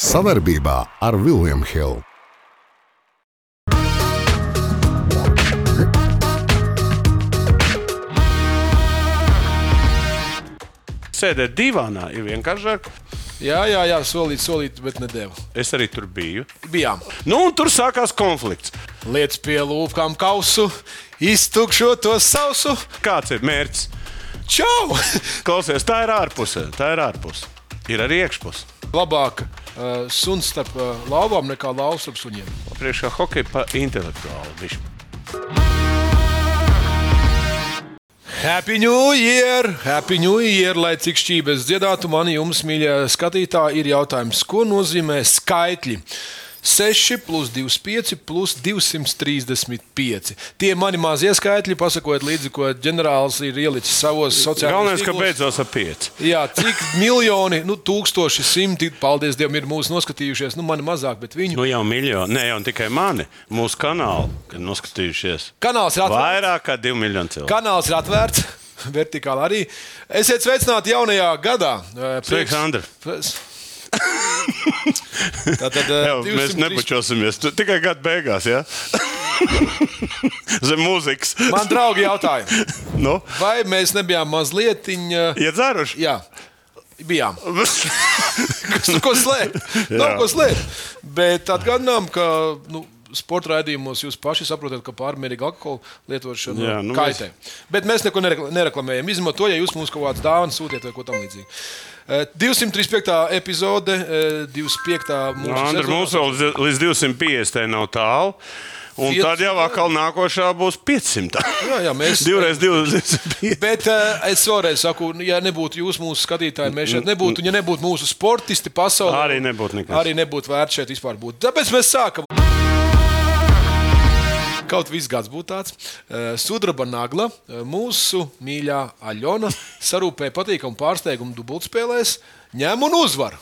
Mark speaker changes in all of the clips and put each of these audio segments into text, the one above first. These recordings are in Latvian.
Speaker 1: Savaarbībā ar Vilniem Hilu.
Speaker 2: Sēdēt divānā ir vienkāršāk.
Speaker 3: Jā, jā, jā solīt, solīt, bet nedēļu.
Speaker 2: Es arī tur biju.
Speaker 3: Bijām
Speaker 2: Nu, un tur sākās konflikts.
Speaker 3: lietas pie lūpām, kausu, iztukšo to sausu.
Speaker 2: Kāds ir mērķis?
Speaker 3: Čau!
Speaker 2: Klausies, tā ir ārpusē. Tā ir ārpusē. Ir arī iekšpusē.
Speaker 3: Labāk uh, suns starp uh, lauvām nekā lauvas starp suņiem.
Speaker 2: Priekšā hokeja pa intelektuāli. bišķi.
Speaker 3: Happy New Year! Happy New Year! Lai cik šķības dziedātu, man jums, mīļie skatītāji, ir jautājums, ko nozīmē skaitļi. 6, plus 25, plus 235. Tie mani mazie skaitļi, pasakojiet līdzi, ko ģenerālis ir ielicis savos
Speaker 2: Galvenais,
Speaker 3: sociālajos
Speaker 2: ka beidzās ar pieci.
Speaker 3: Jā, cik miljoni, nu, tūkstoši simti, paldies Dievam, ir mūsu noskatījušies. Nu, mani mazāk, bet viņu
Speaker 2: Nu jau miljoni, ne jau tikai mani, mūsu kanālu, kad noskatījušies.
Speaker 3: kanāls ir atvērts.
Speaker 2: Vairāk kā divi miljoni cilvēku.
Speaker 3: Kanāls ir atvērts. Vertikāli arī. Esiet sveicināti jaunajā gadā. Eh,
Speaker 2: Sveiks, Andri!
Speaker 3: Prieks- Tātad eh,
Speaker 2: Jā, mēs
Speaker 3: 203
Speaker 2: nebučosimies. Tu- Tikai gada beigās, jā. Zem mūzikas.
Speaker 3: Man draugi jautāja,
Speaker 2: Nu,
Speaker 3: vai mēs nebijām mazliet.
Speaker 2: iedzēruši?
Speaker 3: Jā, bijām. Kas tur ko slēpt? Nav
Speaker 2: Jā.
Speaker 3: ko slēpt. Bet atgādinām, ka nu, sporta raidījumos jūs paši saprotat, ka pārmērīga alkohola lietošana Jā,
Speaker 2: Jā, nu
Speaker 3: nu kaitē. Mēs... Bet mēs neko nerekla- nereklamējam. Izņemot to, ja jūs mums kaut kādas dāvanas sūtiet vai ko tamlīdzīgu. Eh, 235. epizode, eh, 25.
Speaker 2: Nu,
Speaker 3: mūsu
Speaker 2: Andri,
Speaker 3: sezonā.
Speaker 2: mums vēl līdz- līdz 250 nav tālu. Un tad jau atkal nākošā būs 500.
Speaker 3: Jā, jā, mēs-
Speaker 2: Divreiz 250.
Speaker 3: Bet uh, es vēlreiz saku, nu, ja nebūtu jūs mūsu skatītāji, mēs šeit nebūtu. un Ja nebūtu mūsu sportisti pasaulē,
Speaker 2: Arī nebūtu nekas.
Speaker 3: Arī nebūtu vērts šeit vispār būt. Tāpēc mēs sākam. Kaut viss gads būtu tāds. Eh, Sudraba nagla, eh, mūsu mīļā Aļona, sarūpēja patīkamu pārsteigumu dubultspēlēs, ņem un uzvar.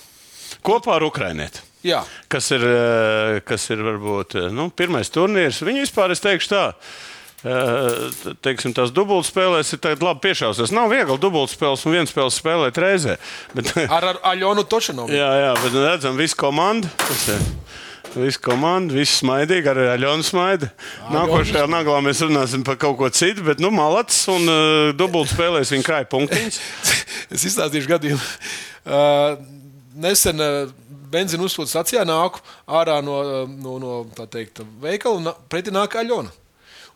Speaker 2: Kopā ar Ukrainietu.
Speaker 3: Jā,
Speaker 2: Kas ir, eh, kas ir varbūt eh, nu, pirmais turnīrs? Viņu vispār es teikšu tā. eh, t- Teiksim, tās dubultspēlēs ir tagad labi piešķīrusies. Nav viegli dubultspēles un viens spēles spēlēt reizē. Bet,
Speaker 3: ar, ar Aļonu Točinovu.
Speaker 2: Jā, jā, bet nu redzam, visu komandu. Tas ir. Viss komanda, viss smaidīgi, arī Aļona smaida. Nākošajā naglā mēs runāsim par kaut ko citu, bet, nu, malacis un uh, dubultspēlēs viņa krāja punktiņus.
Speaker 3: es izstāstīšu gadījumu. Uh, nesen uh, benzīna uzsūta stācijā nāku ārā no, uh, no, no tā teikt, veikala un na- pretī nāk Aļona.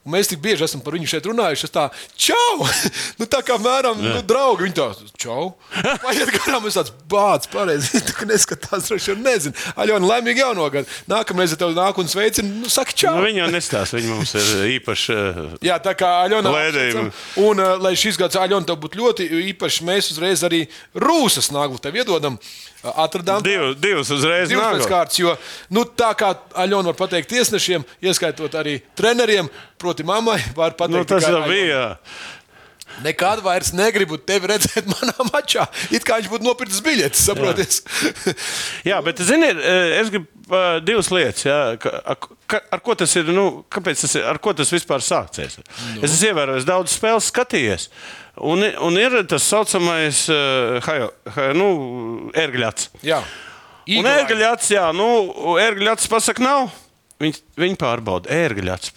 Speaker 3: Un mēs tik bieži esam par viņu šeit runājuši. Es tā, čau! nu, tā kā mēram, nu, draugi, viņi tā, čau! Paiet garām, es tāds bācis, pareizi. Tu ka neskatās, droši vien nezinu. Aļona, laimīgi jauno gadu. Nākamreiz, ja tev nāk un sveicina, nu, saka, čau!
Speaker 2: Nu, viņa jau nestāsta, viņa mums ir īpaši. Uh,
Speaker 3: Jā, tā kā Aļona
Speaker 2: Lēdējumu.
Speaker 3: apsveicam. Un, uh, lai šis gads Aļona tev būtu ļoti īpašs, mēs uzreiz arī rūsas nāgu tev iedodam. Uh, Atradām
Speaker 2: div, divas uzreiz
Speaker 3: divas pēc
Speaker 2: nākot.
Speaker 3: kārtas, jo nu, tā kā Aļona var pateikt tiesnešiem, ieskaitot arī treneriem, proti mammai, var pateikt,
Speaker 2: Nu, tas
Speaker 3: tikai
Speaker 2: jau
Speaker 3: Aļona.
Speaker 2: bija.
Speaker 3: Nekad vairs negribu tevi redzēt manā mačā. It kā viņš būtu nopircis biļetes, saprotiet?
Speaker 2: Jā, bet, ziniet, e, es gribu uh, divas lietas. Jā, ka, ak- ka, ar ko tas ir? Nu, kāpēc tas ir? Ar ko tas vispār sācies? Nu. Es esmu ievērojis daudz spēļu, skatījies. Un, i- un ir tas tā saucamais uh, hajo, ha, nu, ergļats.
Speaker 3: Jā.
Speaker 2: Un
Speaker 3: Igor,
Speaker 2: ergļats, jā, nu, ergļats pasakā, nav. Viņi, viņi pārbauda ērgļus.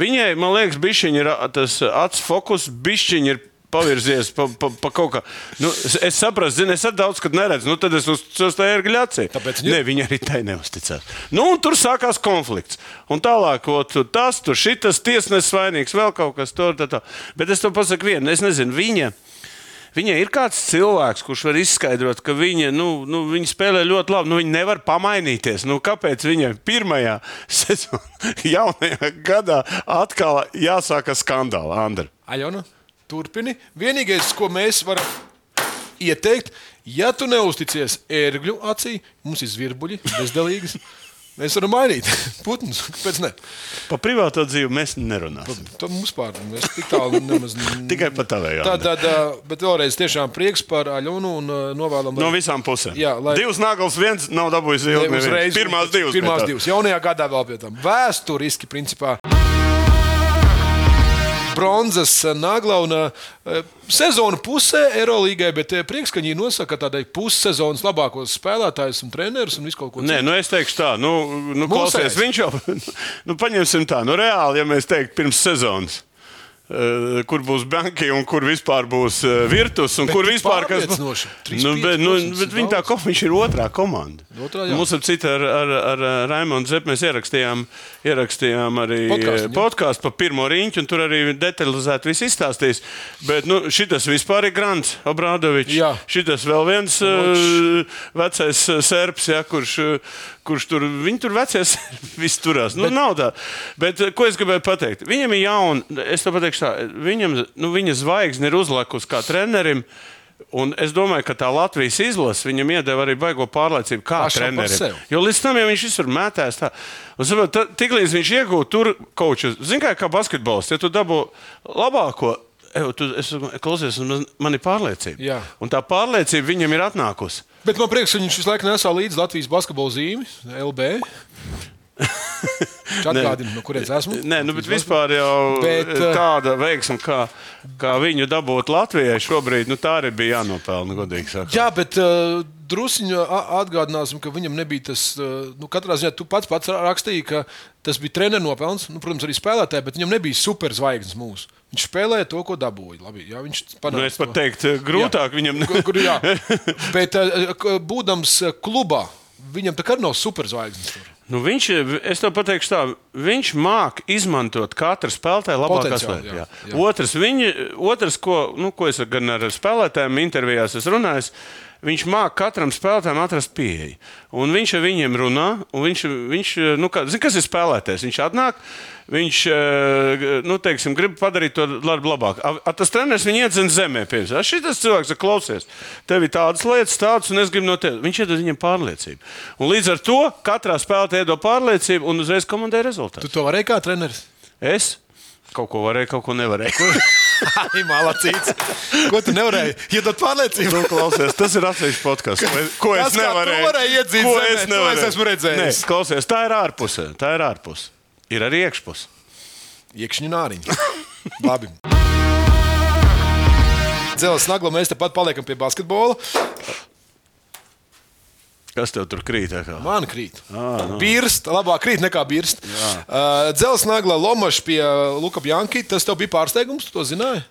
Speaker 2: Viņai, man liekas, bišķiņ ir ā, tas acu fokus, bišķiņ ir pavirzies pa, pa, pa kaut kā. Nu, es, es saprotu, zinu, es arī daudz, kad neredzu, nu tad es uzticos tā ērgļacī.
Speaker 3: Tāpēc
Speaker 2: ne,
Speaker 3: viņi-
Speaker 2: viņi arī tai neusticās. Nu, un tur sākās konflikts. Un tālāk, ko tu tas, tur šitas tiesnesis vainīgs, vēl kaut kas tur. Tā, tā. Bet es to pasaku vienu, es nezinu, viņa. Viņai ir kāds cilvēks, kurš var izskaidrot, ka viņa, nu, nu, viņa spēlē ļoti labi. Nu, viņa nevar pamainīties. Nu, kāpēc viņai pirmajā sezonā, jaunajā gadā, atkal jāsākas skandāla? Andri?
Speaker 3: Aļona, turpini. Vienīgais, ko mēs varam ieteikt, ja tu neusticies ērgļu acī, mums ir zvirbuļi, bezdelīgas. Mēs varam mainīt putnus. Kāpēc ne?
Speaker 2: Par privāto dzīvi mēs nerunāsim.
Speaker 3: To mums pārdomā. Mēs tik tālu nemaz ne-
Speaker 2: Tikai par tavējo.
Speaker 3: Tā, tā, tā, bet vēlreiz tiešām prieks par Aļonu un ā, novēlam.
Speaker 2: No
Speaker 3: lai-
Speaker 2: visām pusēm.
Speaker 3: Jā, lai-
Speaker 2: Divas naglas, viens nav dabūjis ilgi.
Speaker 3: Ne,
Speaker 2: neviens.
Speaker 3: uzreiz-
Speaker 2: Pirmās divas.
Speaker 3: Pirmās
Speaker 2: pēc tā.
Speaker 3: divas. Jaunajā gadā vēl pie tam. Vēsturiski, principā. bronzas eh, nagla. Un, eh, sezona pusē Eirolandā, bet eh, prieks, ka viņi nosaka tādai pussezonas labākos spēlētājus un trenerus un visu kaut ko
Speaker 2: Nē, nu es teikšu tā, nu, nu klausies,
Speaker 3: Mūsējais.
Speaker 2: viņš jau, nu, paņemsim tā, nu, reāli, ja mēs teiktu pirms sezonas. eh, Kur būs banki un kur vispār būs eh, virtus un
Speaker 3: Bet
Speaker 2: kur
Speaker 3: tik
Speaker 2: vispār kas
Speaker 3: pārliecinoši.
Speaker 2: Nu, bet, nu,
Speaker 3: 35%
Speaker 2: bet
Speaker 3: ir
Speaker 2: viņa tā
Speaker 3: daudz.
Speaker 2: ko, viņš ir otrā komanda.
Speaker 3: Otrā, jā.
Speaker 2: Mums ar citu ar, ar, ar eh, Raimondu Zeppu mēs ierakstījām, ierakstījām arī
Speaker 3: Podcastu,
Speaker 2: eh,
Speaker 3: jā.
Speaker 2: podkāstu par pirmo riņķu, un tur arī detalizēti viss izstāstīs. Bet nu, šis vispār ir Grants Obrādovičs.
Speaker 3: Jā.
Speaker 2: Šis vēl viens uh, vecais eh, serps, ja, kurš, eh, kurš tur, viņi tur vecais viss turās. Nu, nav tā. Bet eh, ko es gribēju pateikt? Viņam ir jauna, es to pateikšu tā, viņam, nu, viņa zvaigzne ir uzlikusi kā trenerim. Un es domāju, ka tā Latvijas izlase viņam iedeva arī baigo pārliecību, kā
Speaker 3: Pašam par
Speaker 2: trenerim.
Speaker 3: sevi.
Speaker 2: Jo līdz tam jau viņš visur mētājs. tā. Un saprot, tad Tiklīdz viņš iegūta tur kaut ko. Zini, kā, kā basketbols, ja tu dabū labāko. Eju, tu, es domāju, klausies, un man- man ir pārliecība.
Speaker 3: Jā.
Speaker 2: Un tā pārliecība viņam ir atnākusi.
Speaker 3: Bet man prieks, ka viņš visu laiku nesā līdzi Latvijas basketbola zīmi, LB. Viņš Atgādina, no kurienes esmu.
Speaker 2: Nē, nu, bet vispār jau
Speaker 3: Bet,
Speaker 2: bet,
Speaker 3: eh,
Speaker 2: tāda veiksma, kā, kā viņu dabūt Latvijai šobrīd, nu, tā arī bija jānopelna, nu, godīgi sakot.
Speaker 3: Jā, bet uh, druskuļi atgādināsim, ka viņam nebija tas. Uh, nu, katrā ziņā tu pats, pats rakstīji, ka tas bija treniņa nopelns. Nu, protams, arī spēlētāji, bet viņam nebija superzvaigznes mūsu. Viņš spēlēja to, ko dabūja. Labi, jā, viņš panāca
Speaker 2: Nu, es
Speaker 3: to.
Speaker 2: pat teiktu, grūtāk jā. viņam.
Speaker 3: Kur- kur- jā. Bet, uh, k- būdams uh, klubā, viņam tā kā nav superzvaigznes. Tur.
Speaker 2: Nu, viņš, es tev pateikšu, tā, viņš māca izmantot katru spēlētāju labākās
Speaker 3: Potenciālu, jā,
Speaker 2: lietas.
Speaker 3: jā.
Speaker 2: Otrs, viņi, otrs ko, nu, ko es gan ar spēlētājiem intervijās esmu runājis, viņš māca katram spēlētājam atrast pieeju. Un viņš ar viņiem runā, un viņš, viņš nu, kā, zin, kas ir spēlētājs. Viņš atnāk, viņš eh, nu, teiksim, grib padarīt to darbu labāk. A, a, tas treneris viņu iedzina zemē. Šis cilvēks saka, klausies, tev ir tādas lietas, tādas, un es gribu no tevis. Viņš iedod viņam pārliecību. Un līdz ar to katrā spēlē iedod pārliecību un uzreiz komandai rezultātu.
Speaker 3: Tu to varēji kā treneris?
Speaker 2: Es kaut ko varēju, kaut ko nevarēju.
Speaker 3: Ai, malacīts. Ko tu nevarēji? Iedot pārliecību.
Speaker 2: Nu, klausies, tas ir atsevišķs podkāsts. Ko, ko
Speaker 3: Tas,
Speaker 2: es
Speaker 3: kā tu
Speaker 2: nevarēju?
Speaker 3: varēji iedzīt
Speaker 2: ko
Speaker 3: zemē,
Speaker 2: es
Speaker 3: to
Speaker 2: nevarēju?
Speaker 3: es esmu redzējis.
Speaker 2: Nē, klausies, tā ir ārpusē. Tā ir ārpusē. Ir arī iekšpusē.
Speaker 3: Iekšņu nāriņu. Labi. Zelens nagla, mēs tepat paliekam pie basketbola.
Speaker 2: Kas tev tur krīt? tā kā?
Speaker 3: Man krīt.
Speaker 2: nu.
Speaker 3: Birst, labāk krīt nekā birst. Uh, Zelens nagla, lomašs pie Lukas Janki. Tas tev bija pārsteigums, tu to zināji?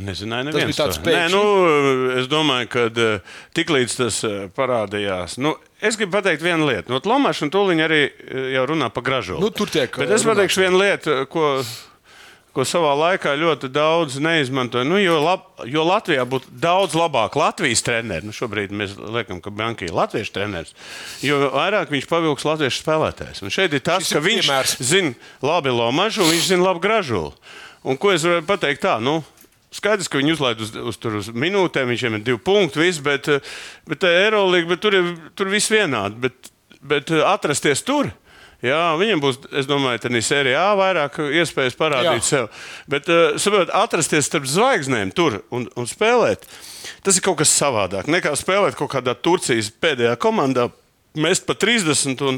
Speaker 2: Nezināju,
Speaker 3: Tas
Speaker 2: neviens
Speaker 3: bija tāds
Speaker 2: to. Nē,
Speaker 3: pēkšņi.
Speaker 2: nu, es domāju, ka tiklīdz tas eh, parādījās. Nu, es gribu pateikt vienu lietu. Nu, Lomāšs un Tūliņš arī eh, jau runā par gražumu.
Speaker 3: Nu, tur tiek,
Speaker 2: Bet es
Speaker 3: eh,
Speaker 2: pateikšu vienu lietu, ko, ko savā laikā ļoti daudz neizmantoja. Nu, jo, lab, jo Latvijā būtu daudz labāk Latvijas treneris. Nu, šobrīd mēs liekam, ka Banka ir latviešu treneris. Jo vairāk viņš pavilks latviešu spēlētājs. Un šeit ir tas,
Speaker 3: Šis
Speaker 2: ka
Speaker 3: ir
Speaker 2: viņš
Speaker 3: piemērs.
Speaker 2: zina labi lomažu, un viņš zina labi gražulu. Un ko es varu pateikt tā? Nu, Skaidrs, ka viņi uzlaid uz, uz, tur uz minūtēm, viņiem ir divi punkti, viss, bet, eh, bet tā Eirolandā tur ir tur viss vienādi. Bet, bet eh, atrasties tur, jā, viņiem būs, es domāju, tādā sērijā vairāk iespējas parādīt jā.
Speaker 3: Jā.
Speaker 2: sev. Bet, eh, saprotiet, atrasties starp zvaigznēm tur un, un spēlēt, tas ir kaut kas savādāk nekā spēlēt kaut kādā Turcijas pēdējā komandā. Mest pa 30 un,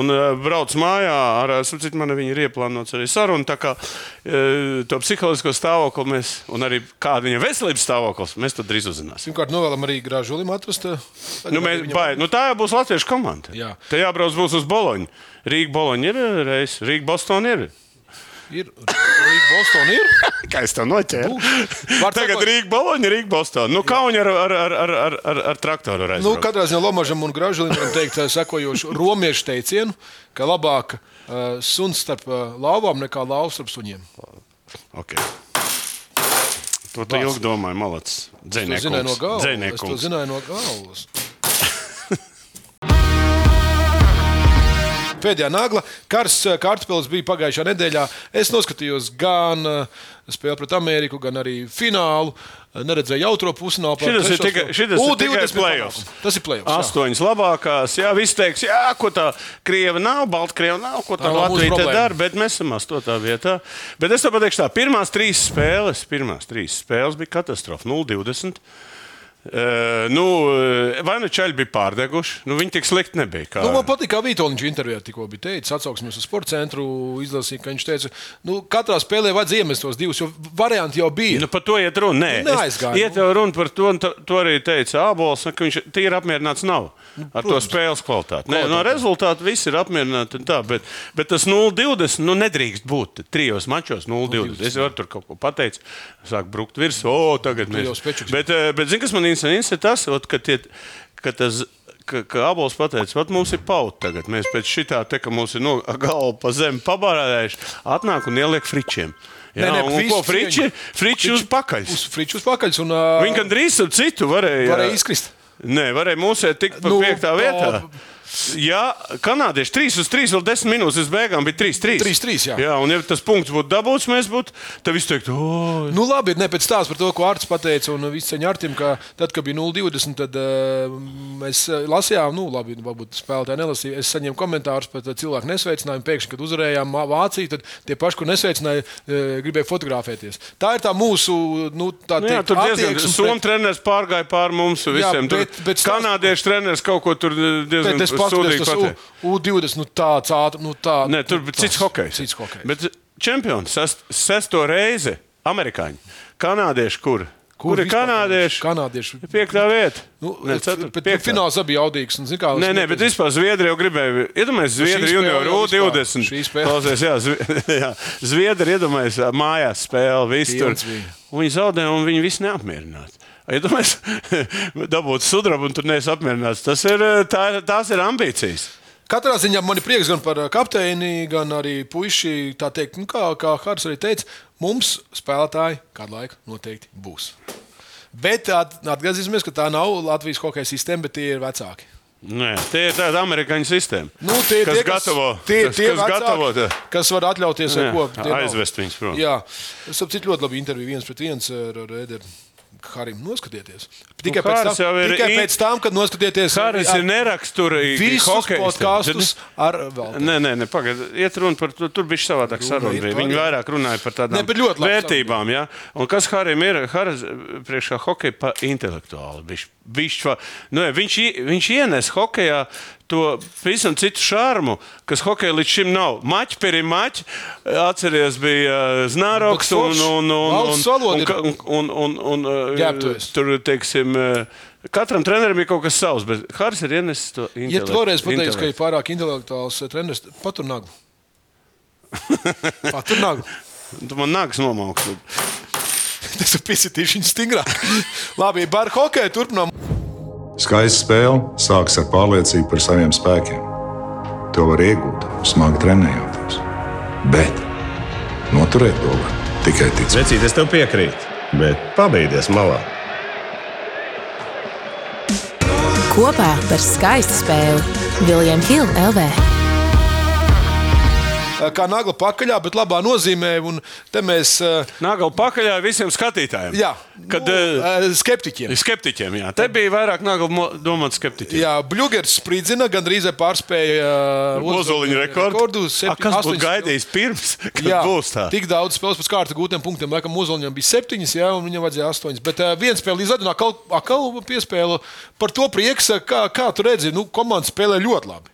Speaker 2: un eh, brauc mājā. Ar, eh, starp citu, man viņa ir ieplānots arī saruna. Tā kā eh, to psiholoģisko stāvokli mēs, un arī kāda viņa veselības stāvoklis, mēs to drīz uzzināsim.
Speaker 3: Pirmkārt, novēlam arī Grāžulim atrast. uh,
Speaker 2: Nu, mēs,
Speaker 3: viņam-
Speaker 2: bai, nu, tā jau būs latviešu komanda.
Speaker 3: Jā.
Speaker 2: Tā jābrauc būs uz Boloņu. Rīga Boloņa ir eh, reizes, Rīga Bostona ir.
Speaker 3: Ir Rīga, Bostonā ir.
Speaker 2: Kā es tev noķēru?
Speaker 3: Var
Speaker 2: Tagad
Speaker 3: sakot-
Speaker 2: Rīga, Boloņa, Rīga, Bostonā. Nu, Kaunija ar, ar, ar, ar, ar, ar, ar traktoru reizē.
Speaker 3: Nu, katrā ziņā Lomačam un Gražulim varam teikt eh, sekojošu romiešu teicienu, ka labāk uh, suns starp uh, lauvām nekā lauvas starp suņiem.
Speaker 2: okay. To tu ilgi domāji, malacis.
Speaker 3: To
Speaker 2: Dzēnieks.
Speaker 3: zināju no galvas. Es to
Speaker 2: Dzēnieks.
Speaker 3: zināju no galvas. Pēdējā nagla karsts eh, kartupēlis bija pagājušā nedēļā. Es noskatījos gan eh, spēli pret Ameriku, gan arī finālu. Eh, Neredzēju otro pusfinālu. pār
Speaker 2: Šitas ir
Speaker 3: trešo
Speaker 2: tikai-
Speaker 3: spēli.
Speaker 2: šitas ir
Speaker 3: U20
Speaker 2: tikai
Speaker 3: panākums.
Speaker 2: play-offs.
Speaker 3: Tas ir play-offs. jā.
Speaker 2: Astoņas labākās. Jā, viss teiks, jā, ko tā krieva nav, Baltkrieva nav, ko tā
Speaker 3: Tā nav mūsu
Speaker 2: Latvija te
Speaker 3: problēma.
Speaker 2: dara, bet mēs esam astotā vietā. Bet es tev pateikšu, tā pirmās trīs spēles, pirmās trīs spēles bija katastrofa. 0-20. Uh, nu, eh, vai nu čaļi bija pārdeguši? Nu, viņi tik slikti nebija. Kā...
Speaker 3: Nu, man patīk, kā Vitoņš intervijā tikko bija teicis, atsauksmēs uz sporta centru, izlasīja, ka viņš teica, ka nu, katrā spēlē vajadzēja iemest tos divus, jo varianti jau bija.
Speaker 2: Nu, par to iet runa. Nē,
Speaker 3: Nu, neaizgāja,
Speaker 2: Iet jau runa par to, un to, to arī teica Ābols, ka viņš ir apmierināts nav
Speaker 3: Nu,
Speaker 2: ar to spēles kvalitāti. Nē, no
Speaker 3: Kvalitāte.
Speaker 2: rezultāta viss ir apmierināts. un Tā, bet, bet tas 0-20 nu, nedrīkst būt trijos mačos. 0-20. Es jau tur kaut ko pateicu, sāku brukt virsmu. O, tagad mēs.
Speaker 3: jau spečuks.
Speaker 2: Bet, eh, bet zini, kas man īstenībā interesē, tas, ot, ka, tie, ka tas. Kā abolis teica, vat mums ir pauta tagad. Mēs pēc šitā te, ka mums ir no galva pa zemi pabarējuši, atnāk un ieliek fričiem. Jā,
Speaker 3: Nē, nē,
Speaker 2: un
Speaker 3: visu
Speaker 2: ko friči?
Speaker 3: cieņu.
Speaker 2: Friči uz pakaļ.
Speaker 3: Uz friču uz pakaļ, un
Speaker 2: Viņa
Speaker 3: uh,
Speaker 2: gandrīz ar citu varēja,
Speaker 3: varēja izkrist.
Speaker 2: Nē, varēja mūsēt tikt pa nu,
Speaker 3: Nu,
Speaker 2: piektā
Speaker 3: pa-
Speaker 2: vietā. Jā, kanādieši 3 uz 3 vēl 10 minūtes, es beigām biju 3 3.
Speaker 3: 3-3, jā.
Speaker 2: jā, un ja tas punkts būtu dabūts, mēs būtu, tad viss teiktu, o,
Speaker 3: Nu, labi, ne pēc tās par to, ko Arts pateica, un viss ceņā Artim, ka tad, kad bija 0,20, tad uh, mēs eh, lasījām, nu, labi, varbūt spēlētāji nelasīja. Es saņēmu komentārus par eh, cilvēku nesveicinājumu. Pēkšņi, kad uzvarējām Mā- Vāciju, tad tie paši, kur nesveicināja, eh, gribēja fotografēties. Tā ir tā mūsu, nu, tā
Speaker 2: Nu, jā,
Speaker 3: teikt,
Speaker 2: tur diezgan
Speaker 3: attieksme
Speaker 2: somu
Speaker 3: pret-
Speaker 2: treneris pārgāja pāri mums visiem. Jā,
Speaker 3: bet-
Speaker 2: bet,
Speaker 3: bet
Speaker 2: bet
Speaker 3: stāst-
Speaker 2: kanādiešu treneris kaut ko tur eh, diezgan
Speaker 3: Bet es
Speaker 2: sūdīgi
Speaker 3: paskatījos, tas
Speaker 2: pateica.
Speaker 3: U- U20, nu tāds ātrs, nu tā.
Speaker 2: Nē, tur
Speaker 3: nu,
Speaker 2: bija cits
Speaker 3: tāds-
Speaker 2: hokejs.
Speaker 3: Cits hokejs.
Speaker 2: Bet eh, čempions sest, sesto reizi amerikāņi. Kanādieši kur? Kur, kur ir
Speaker 3: vispār
Speaker 2: kanādieši?
Speaker 3: Kanādieši.
Speaker 2: Piektā vieta.
Speaker 3: Nu,
Speaker 2: Nē, ceturtā,
Speaker 3: bet
Speaker 2: piektā.
Speaker 3: fināls arī bija audīgs. un, zini kā,
Speaker 2: Nē,
Speaker 3: es
Speaker 2: nē,
Speaker 3: nezinu.
Speaker 2: bet vispār Zviedri jau gribēja. Iedomājieties, Zviedri
Speaker 3: Nu, spēle
Speaker 2: junior
Speaker 3: jau vispār,
Speaker 2: U20.
Speaker 3: šī spēle.
Speaker 2: Klausies, jā, Zvi- jā, Zviedri iedomājās ā, mājās spēli, visu tur.
Speaker 3: Pilns bija.
Speaker 2: Un Viņi zaudēja, un viņi visi neapmierināti. Iedomājieties, dabūt sudrabu, un tur neesmu apmierināts. Tas ir, ā, tā, ir- tās ir ambīcijas.
Speaker 3: Katrā ziņā man ir prieks gan par eh, kapteini, gan arī puiši. Tā teikt, nu, kā, kā Hārs arī teica, mums spēlētāji kādu laiku noteikti būs. Bet at- atgriezīsimies, ka tā nav Latvijas hokeja sistēma, bet tie ir vecāki.
Speaker 2: Nē, Nu tie ir tādi amerikāņu sistēma.
Speaker 3: Nu, tie ir
Speaker 2: kas
Speaker 3: tie,
Speaker 2: gatavo,
Speaker 3: tie,
Speaker 2: kas,
Speaker 3: tie
Speaker 2: kas
Speaker 3: vecāki,
Speaker 2: gatavo tā.
Speaker 3: kas var atļauties
Speaker 2: Jā,
Speaker 3: kaut ko tie nav.
Speaker 2: aizvest viņus prom.
Speaker 3: Jā, es saprotu, ļoti labi interviju viens pret viens eh, ar ar Ederu. Harim, noskatieties. Tikai,
Speaker 2: Nu, Haris
Speaker 3: pēc, tam,
Speaker 2: jau ir
Speaker 3: tikai
Speaker 2: in-
Speaker 3: pēc tam, kad noskatieties eh,
Speaker 2: Kāris ir neraksturīgi.
Speaker 3: visus
Speaker 2: hokejisti.
Speaker 3: podkāstus ar vēl.
Speaker 2: Nē, nē, nē pagaidiet. Iet runa par to. Tur bija savādāk saruna. bija. Viņi vairāk runāja par tādām
Speaker 3: Ne, bet ļoti labi
Speaker 2: vērtībām. Ja? Un kas Harim ir? Haris eh, priekšā hokeja pa intelektuāli. Bišķ, bišķ, va- nu, jā, viņš, i- viņš ienes hokejā. To visam citu šāmu, kas hokeja līdz šim nav. Maķis bija maķis, atcerieties, bija eh, Znaroks
Speaker 3: Bet
Speaker 2: un,
Speaker 3: forši.
Speaker 2: un, un, un,
Speaker 3: Valsts valoda
Speaker 2: un,
Speaker 3: ir-
Speaker 2: ka- un, un, un, un eh,
Speaker 3: Ģērbtuvies.
Speaker 2: tur, teiksim, eh, katram trenerim ir kaut kas savs, bet Haris ir ienesis to
Speaker 3: Ja tu vēlreiz pateiksi, ka
Speaker 2: intelektu.
Speaker 3: ir pārāk intelektuāls eh, treneris, tad patur nagu. patur nagu.
Speaker 2: Tu man nāks nomaukt.
Speaker 3: Tas ir pisitīs viņa stingrāk. Labi, bar hokeju turpinām.
Speaker 4: Skaista spēle sākas ar pārliecību par saviem spēkiem. To var iegūt, smagi trenējoties. Bet noturēt to var tikai ticēt.
Speaker 5: Vecīt, es tev piekrītu, bet pabeigties malā.
Speaker 6: Kopā par skaistu spēli Viljams Hilde LV.
Speaker 3: Eh, Kā nagla pakaļā, bet labā nozīmē. Un te mēs. eh,
Speaker 2: Nākamā pakaļā visiem skatītājiem.
Speaker 3: Jā,
Speaker 2: Kad,
Speaker 3: nu,
Speaker 2: nu,
Speaker 3: eh, skeptiķiem.
Speaker 2: skeptiķiem. Jā. Te bija vairāk nākamā domāta skeptiķiem.
Speaker 3: Jā, Bluegers spridzina, gandrīz vai pārspēja uh,
Speaker 2: Ozoliņa rekords.
Speaker 3: rekordu.
Speaker 2: A, Kas būtu gaidījis pirms, kad jā, būs tā?
Speaker 3: Tik daudz spēles pēc kārtas gūtiem punktiem. Laikam, Ozoliņam bija septiņas, jā, un viņam vajadzēja astoņas. Bet uh, viens spēle izdarīja, atkal, atkal piespēle. Par to prieks, eh, kā, kā tu redzi, nu, komanda spēlē ļoti labi.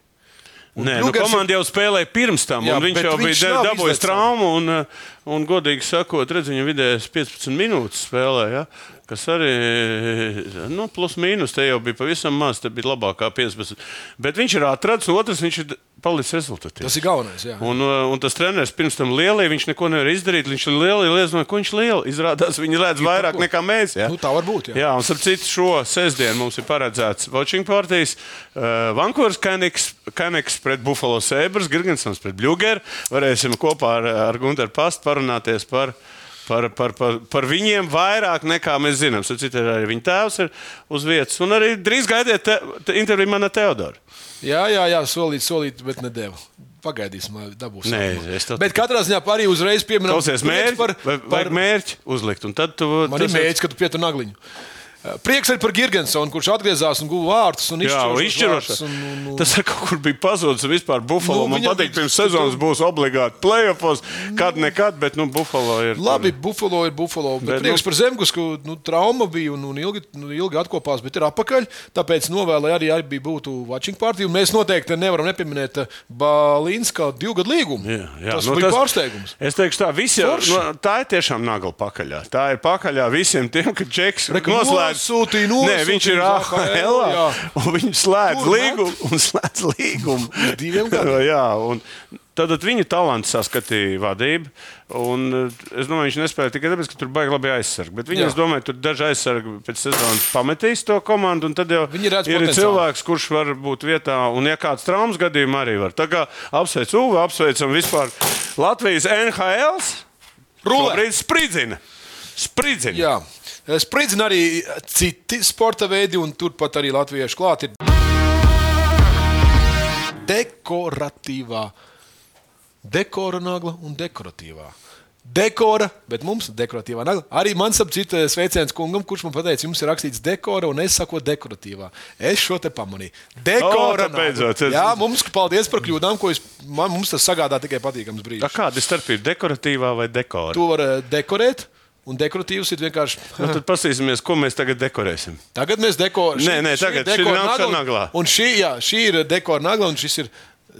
Speaker 2: Nē, nu,
Speaker 3: Bļugers-
Speaker 2: komanda jau spēlēja pirms tam, jā,
Speaker 3: Jā,
Speaker 2: un viņš
Speaker 3: bet
Speaker 2: jau
Speaker 3: viņš
Speaker 2: bija
Speaker 3: nav
Speaker 2: dabūjis
Speaker 3: izlecējis.
Speaker 2: traumu. Un, uh, un, godīgi sakot, redz, viņa vidējas 15 minūtes spēlē, ja? kas arī, nu, plus mīnus, te jau bija pavisam maz, te bija labākā 15. Bet viņš ir atrads, un otrs viņš ir d- palicis rezultātā.
Speaker 3: Tas ir galvenais. Jā.
Speaker 2: Un, uh, un tas treneris pirms tam lielai, viņš neko nevar izdarīt. Viņš ir lielai, lieznoja, ko viņš liela. Izrādās, viņi redz vairāk
Speaker 3: ko.
Speaker 2: nekā mēs. Jā.
Speaker 3: Nu, tā var būt, jā.
Speaker 2: jā, un starp citu, šo sestdienu mums ir paredzēts Watching Parties, uh, Vankūveras Kaniks, Kaniks pret Buffalo Sabres, Girgensons pret Bluegeru. Varēsim kopā ar, ar Gunteru Pastu parunāties par. Par, par, par, par viņiem vairāk nekā mēs zinām. Starp citu, arī viņa tēvs ir uz vietas. Un arī drīz gaidiet te, te, interviju manā Teodorā.
Speaker 3: Jā, jā, jā solīt, solīt, bet nedēļu. Pagaidīsim, lai dabūsim.
Speaker 2: Nē, es to-
Speaker 3: Bet katrā ziņā arī uzreiz pieminam,
Speaker 2: Klausies, mērķi, par, par... Vajag mērķi uzlikt, un tad tu
Speaker 3: Man ir
Speaker 2: tas-
Speaker 3: mērķis, ka tu pietu nagliņu. Eh, Prieks arī par Gigantsonu, kurš atgriezās un guva vārdus. un
Speaker 2: Jā,
Speaker 3: izšķirošos
Speaker 2: izšķirošs.
Speaker 3: vārdus un- un- un-
Speaker 2: Tas ir kaut kur bija pazudis. Vispār Buffalo.
Speaker 3: Nu,
Speaker 2: Nu, man
Speaker 3: viņam-
Speaker 2: patīk, pirms sezonas būs obligāti playoffs. Kad nekad, bet nu, Buffalo ir.
Speaker 3: Labi, Buffalo ir Buffalo.
Speaker 2: Bet,
Speaker 3: Bet, bet
Speaker 2: nu-
Speaker 3: prieks nu, par Zemgusku, nu, trauma bija un, un ilgi, nu, ilgi atkopās, bet ir apakaļ. Tāpēc novēlēju arī, arī bija būtu watching party. Un Mēs noteikti nevaram nepieminēt Balīnas kā divu gadu līgumu.
Speaker 2: Jā, jā.
Speaker 3: Tas nu, bija tas... pārsteigums.
Speaker 2: Es teikšu, tā, visi, jau-
Speaker 3: Forši.
Speaker 2: no, tā ir tiešām nagla pakaļā. Tā ir pakaļā visiem tiem, ka Džeks
Speaker 3: Re, ka
Speaker 2: noslēdz.
Speaker 3: nosūtīja,
Speaker 2: Nē,
Speaker 3: nosūtīja
Speaker 2: viņš ir
Speaker 3: uz AHL, jā.
Speaker 2: AHL. un Viņš slēdz
Speaker 3: Tur met.
Speaker 2: līgumu un slēdz līgumu.
Speaker 3: diviem gadiem.
Speaker 2: jā, un tad viņa talants saskatīja vadību. Un eh, es domāju, viņš nespēja tikai tāpēc, ka tur baigi labi aizsargāt. Bet viņi,
Speaker 3: Jā.
Speaker 2: es domāju, tur daži aizsargi pēc sezonas pametīs to komandu. un Tad jau
Speaker 3: Viņi redz
Speaker 2: ir
Speaker 3: potenciālu.
Speaker 2: cilvēki cilvēks, kurš var būt vietā, un ja kāds traumas gadījumā arī var. Tā kā apsveic Uvu, apsveicam vispār Latvijas NHL.
Speaker 3: Rulē.
Speaker 2: Šobrīd spridzina. Spridzina.
Speaker 3: Jā. Eh, Spridzina arī eh, citi sporta veidi, un turpat arī latviešu klāt ir dekoratīvā. Dekora nagla un dekoratīvā. Dekora, bet mums ir dekoratīvā nagla. Arī man ap citu eh, sveiciens kungam, kurš man teica, jums ir rakstīts dekora, un es saku dekoratīvā. Es šo te pamanīju. Dekora.
Speaker 2: O, tā beidzot,
Speaker 3: nagla.
Speaker 2: es-
Speaker 3: Jā, mums paldies par kļūdām, ko es, man, mums tas sagādā tikai patīkams
Speaker 2: Tā
Speaker 3: brīdis.
Speaker 2: Kāda ir starpība dekoratīvā vai dekorā?
Speaker 3: To var eh, dekorēt, un dekoratīvs ir vienkārši.
Speaker 2: Nu, tad paskatīsimies, ko mēs tagad dekorēsim.
Speaker 3: Tagad mēs dekorējam.
Speaker 2: Nē, nē, tagad šī nāk šā naglā.
Speaker 3: Un šī, jā, šī ir dekora nagla, un šis ir